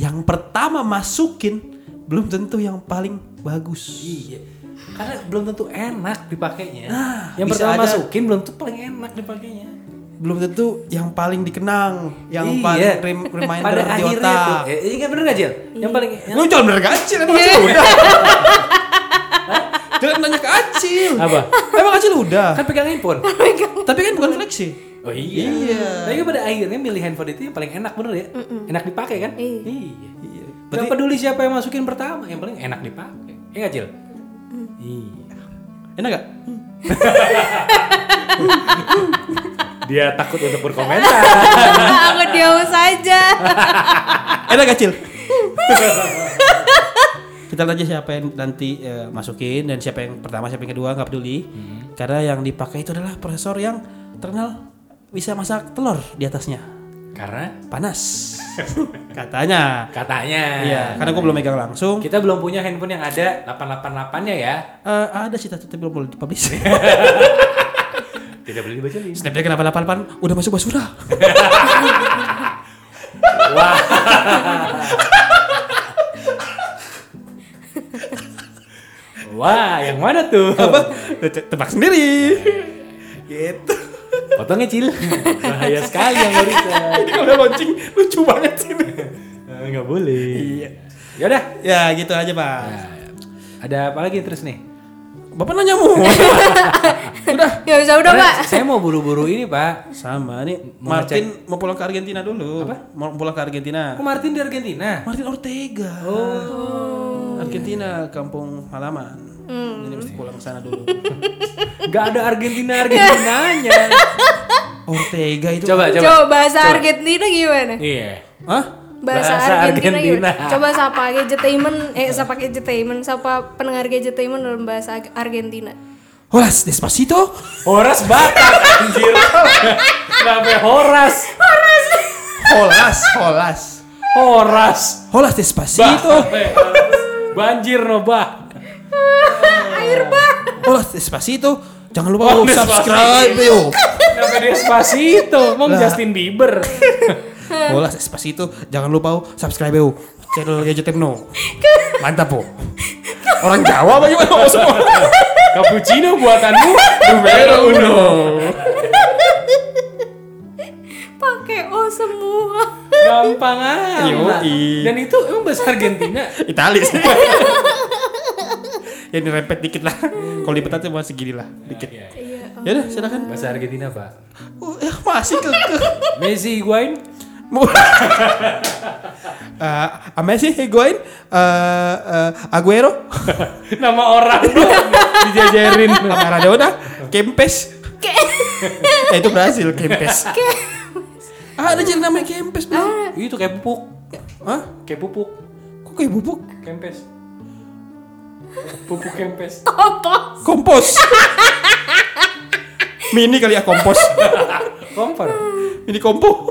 [SPEAKER 3] yang pertama masukin belum tentu yang paling bagus.
[SPEAKER 1] Iya. Karena belum tentu enak dipakainya.
[SPEAKER 3] Nah,
[SPEAKER 1] yang
[SPEAKER 3] bisa
[SPEAKER 1] pertama
[SPEAKER 3] aja.
[SPEAKER 1] masukin belum tentu paling enak dipakainya.
[SPEAKER 3] Belum tentu yang paling dikenang, yang
[SPEAKER 1] Iya.
[SPEAKER 3] paling rem- reminder
[SPEAKER 1] Pada
[SPEAKER 3] di
[SPEAKER 1] akhirnya
[SPEAKER 3] otak.
[SPEAKER 1] tuh, eh, iya bener gak Jil? Yang paling
[SPEAKER 3] Lu jangan bener ke Acil, emang
[SPEAKER 1] Iya.
[SPEAKER 3] Acil udah. jangan nanya ke Acil.
[SPEAKER 1] Apa?
[SPEAKER 3] Emang Acil udah.
[SPEAKER 1] kan pegang handphone.
[SPEAKER 3] Tapi kan bukan flexi.
[SPEAKER 1] Oh iya. Tapi kan pada akhirnya milih handphone itu yang paling enak bener ya. Enak dipakai kan?
[SPEAKER 2] Iya.
[SPEAKER 1] Iya. Gak peduli siapa yang masukin pertama, yang paling enak dipakai. Iya gak Cil? Iya.
[SPEAKER 3] Enak gak?
[SPEAKER 1] Dia takut untuk berkomentar.
[SPEAKER 2] Aku diam saja.
[SPEAKER 3] Enak gak Acil? Kita lihat aja siapa yang nanti eh, masukin dan siapa yang pertama, siapa yang kedua nggak peduli. Karena yang dipakai itu adalah prosesor yang terkenal bisa masak telur di atasnya.
[SPEAKER 1] Karena
[SPEAKER 3] Panas. Katanya.
[SPEAKER 1] katanya.
[SPEAKER 3] Iya, karena gue belum megang langsung.
[SPEAKER 1] Kita belum punya handphone yang ada 888-nya ya.
[SPEAKER 3] Eh, ada sih tapi belum boleh dipublish.
[SPEAKER 1] Tidak boleh dibacain.
[SPEAKER 3] Snapdragon 888 udah masuk basura.
[SPEAKER 1] Wah, yang mana tuh?
[SPEAKER 3] Tebak sendiri. gitu.
[SPEAKER 1] Potongnya Cil. Bahaya sekali yang barusan.
[SPEAKER 3] Ini kalau udah launching lucu banget sih.
[SPEAKER 1] Eh, Nggak boleh. Iya. Yaudah.
[SPEAKER 3] ya gitu aja pak.
[SPEAKER 1] Nah, ada apa lagi terus nih?
[SPEAKER 3] Bapak nanya mu.
[SPEAKER 2] ya bisa udah
[SPEAKER 1] Karena
[SPEAKER 2] pak.
[SPEAKER 1] Saya mau buru-buru ini pak.
[SPEAKER 3] Sama nih.
[SPEAKER 1] Mau
[SPEAKER 3] Martin mau pulang ke Argentina dulu. Apa? Mau pulang ke Argentina.
[SPEAKER 1] Oh, Martin di Argentina.
[SPEAKER 3] Martin Ortega. Oh. Iya. Argentina kampung halaman. Jadi mesti pulang ke sana dulu.
[SPEAKER 1] Gak ada Argentina Argentinanya.
[SPEAKER 3] Ortega itu.
[SPEAKER 1] coba coba.
[SPEAKER 2] Coba bahasa Argentina gimana?
[SPEAKER 1] Iya.
[SPEAKER 3] Hah?
[SPEAKER 2] Bahasa,
[SPEAKER 1] Bahasa
[SPEAKER 2] Argentina,
[SPEAKER 1] Argentina.
[SPEAKER 2] gimana? Coba sapa gadgetainment, eh sapa gadgetainment, sapa pendengar gadgetainment dalam bahasa Ag- Argentina.
[SPEAKER 3] Horas Despacito.
[SPEAKER 1] Horas Batak anjir. Kenapa Horas?
[SPEAKER 3] Holas, holas.
[SPEAKER 1] Horas.
[SPEAKER 3] Holas Despacito.
[SPEAKER 1] Banjir no bah.
[SPEAKER 3] Holas Despacito. Jangan lupa oh, subscribe yo.
[SPEAKER 1] Kenapa dia Spasito? Mau
[SPEAKER 3] Lah.
[SPEAKER 1] Justin Bieber.
[SPEAKER 3] Bola Espacito jangan lupa oh, subscribe oh. channel Gadget Temno. Mantap oh. Orang Jawa bagaimana oh, semua?
[SPEAKER 1] Cappuccino buatanmu numero uno.
[SPEAKER 2] Pakai oh semua.
[SPEAKER 1] Gampang amat.
[SPEAKER 3] Yoi.
[SPEAKER 1] Dan itu emang bahasa Argentina.
[SPEAKER 3] Itali sih. ya dirempet dikit lah. Kalau dipetat cuma segini lah, dikit.
[SPEAKER 1] Iya.
[SPEAKER 3] Ya udah, silakan.
[SPEAKER 1] Bahasa Argentina, Pak.
[SPEAKER 3] Oh, ya masih ke ke.
[SPEAKER 1] Messi Higuain
[SPEAKER 3] Eh, Ama sih Higuain, eh, eh, Aguero,
[SPEAKER 1] nama orang
[SPEAKER 3] dijajarin Maradona, Kempes. eh, itu Brasil, Kempes. ah, ada jadi namanya Kempes, Bro.
[SPEAKER 1] itu kayak pupuk
[SPEAKER 3] Hah?
[SPEAKER 1] kayak pupuk
[SPEAKER 3] Kok kayak bubuk?
[SPEAKER 1] kempes pupuk kempes
[SPEAKER 2] Apa?
[SPEAKER 3] Kompos. Mini kali ya kompos.
[SPEAKER 1] kompor
[SPEAKER 3] Mini kompo.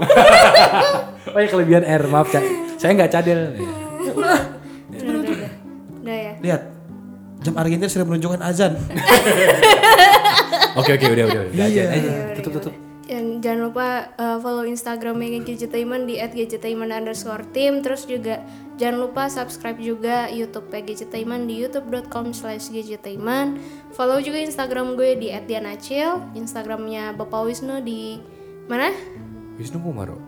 [SPEAKER 1] oh ya kelebihan R maaf cak saya nggak cadel
[SPEAKER 2] Udah ya.
[SPEAKER 3] Lihat. Jam Argentina sudah menunjukkan azan.
[SPEAKER 1] oke oke udah udah udah aja aja tutup tutup
[SPEAKER 2] Dan jangan lupa uh, follow Instagramnya Gadgetainment di @gadgetainment underscore team. Terus juga jangan lupa subscribe juga YouTube Gadgetainment di youtube.com slash gadgetainment. Follow juga Instagram gue di @dianacil, Instagramnya Bapak Wisnu di mana?
[SPEAKER 1] Wisnu Kumaro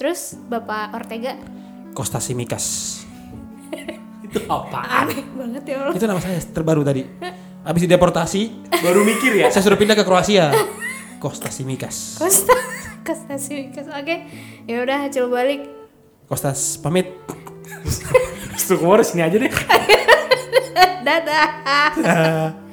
[SPEAKER 2] Terus Bapak Ortega.
[SPEAKER 3] Costa Simikas.
[SPEAKER 1] itu apa
[SPEAKER 2] Aneh banget ya Allah.
[SPEAKER 3] Itu nama saya terbaru tadi. Habis dideportasi,
[SPEAKER 1] baru mikir ya
[SPEAKER 3] saya suruh pindah ke Kroasia. Costa Simikas.
[SPEAKER 2] Kosta, Kosta Simikas. Oke, ya udah acil balik.
[SPEAKER 3] Kostas pamit.
[SPEAKER 1] Wisnu Kumaro sini aja deh
[SPEAKER 2] Dadah.
[SPEAKER 3] Ah.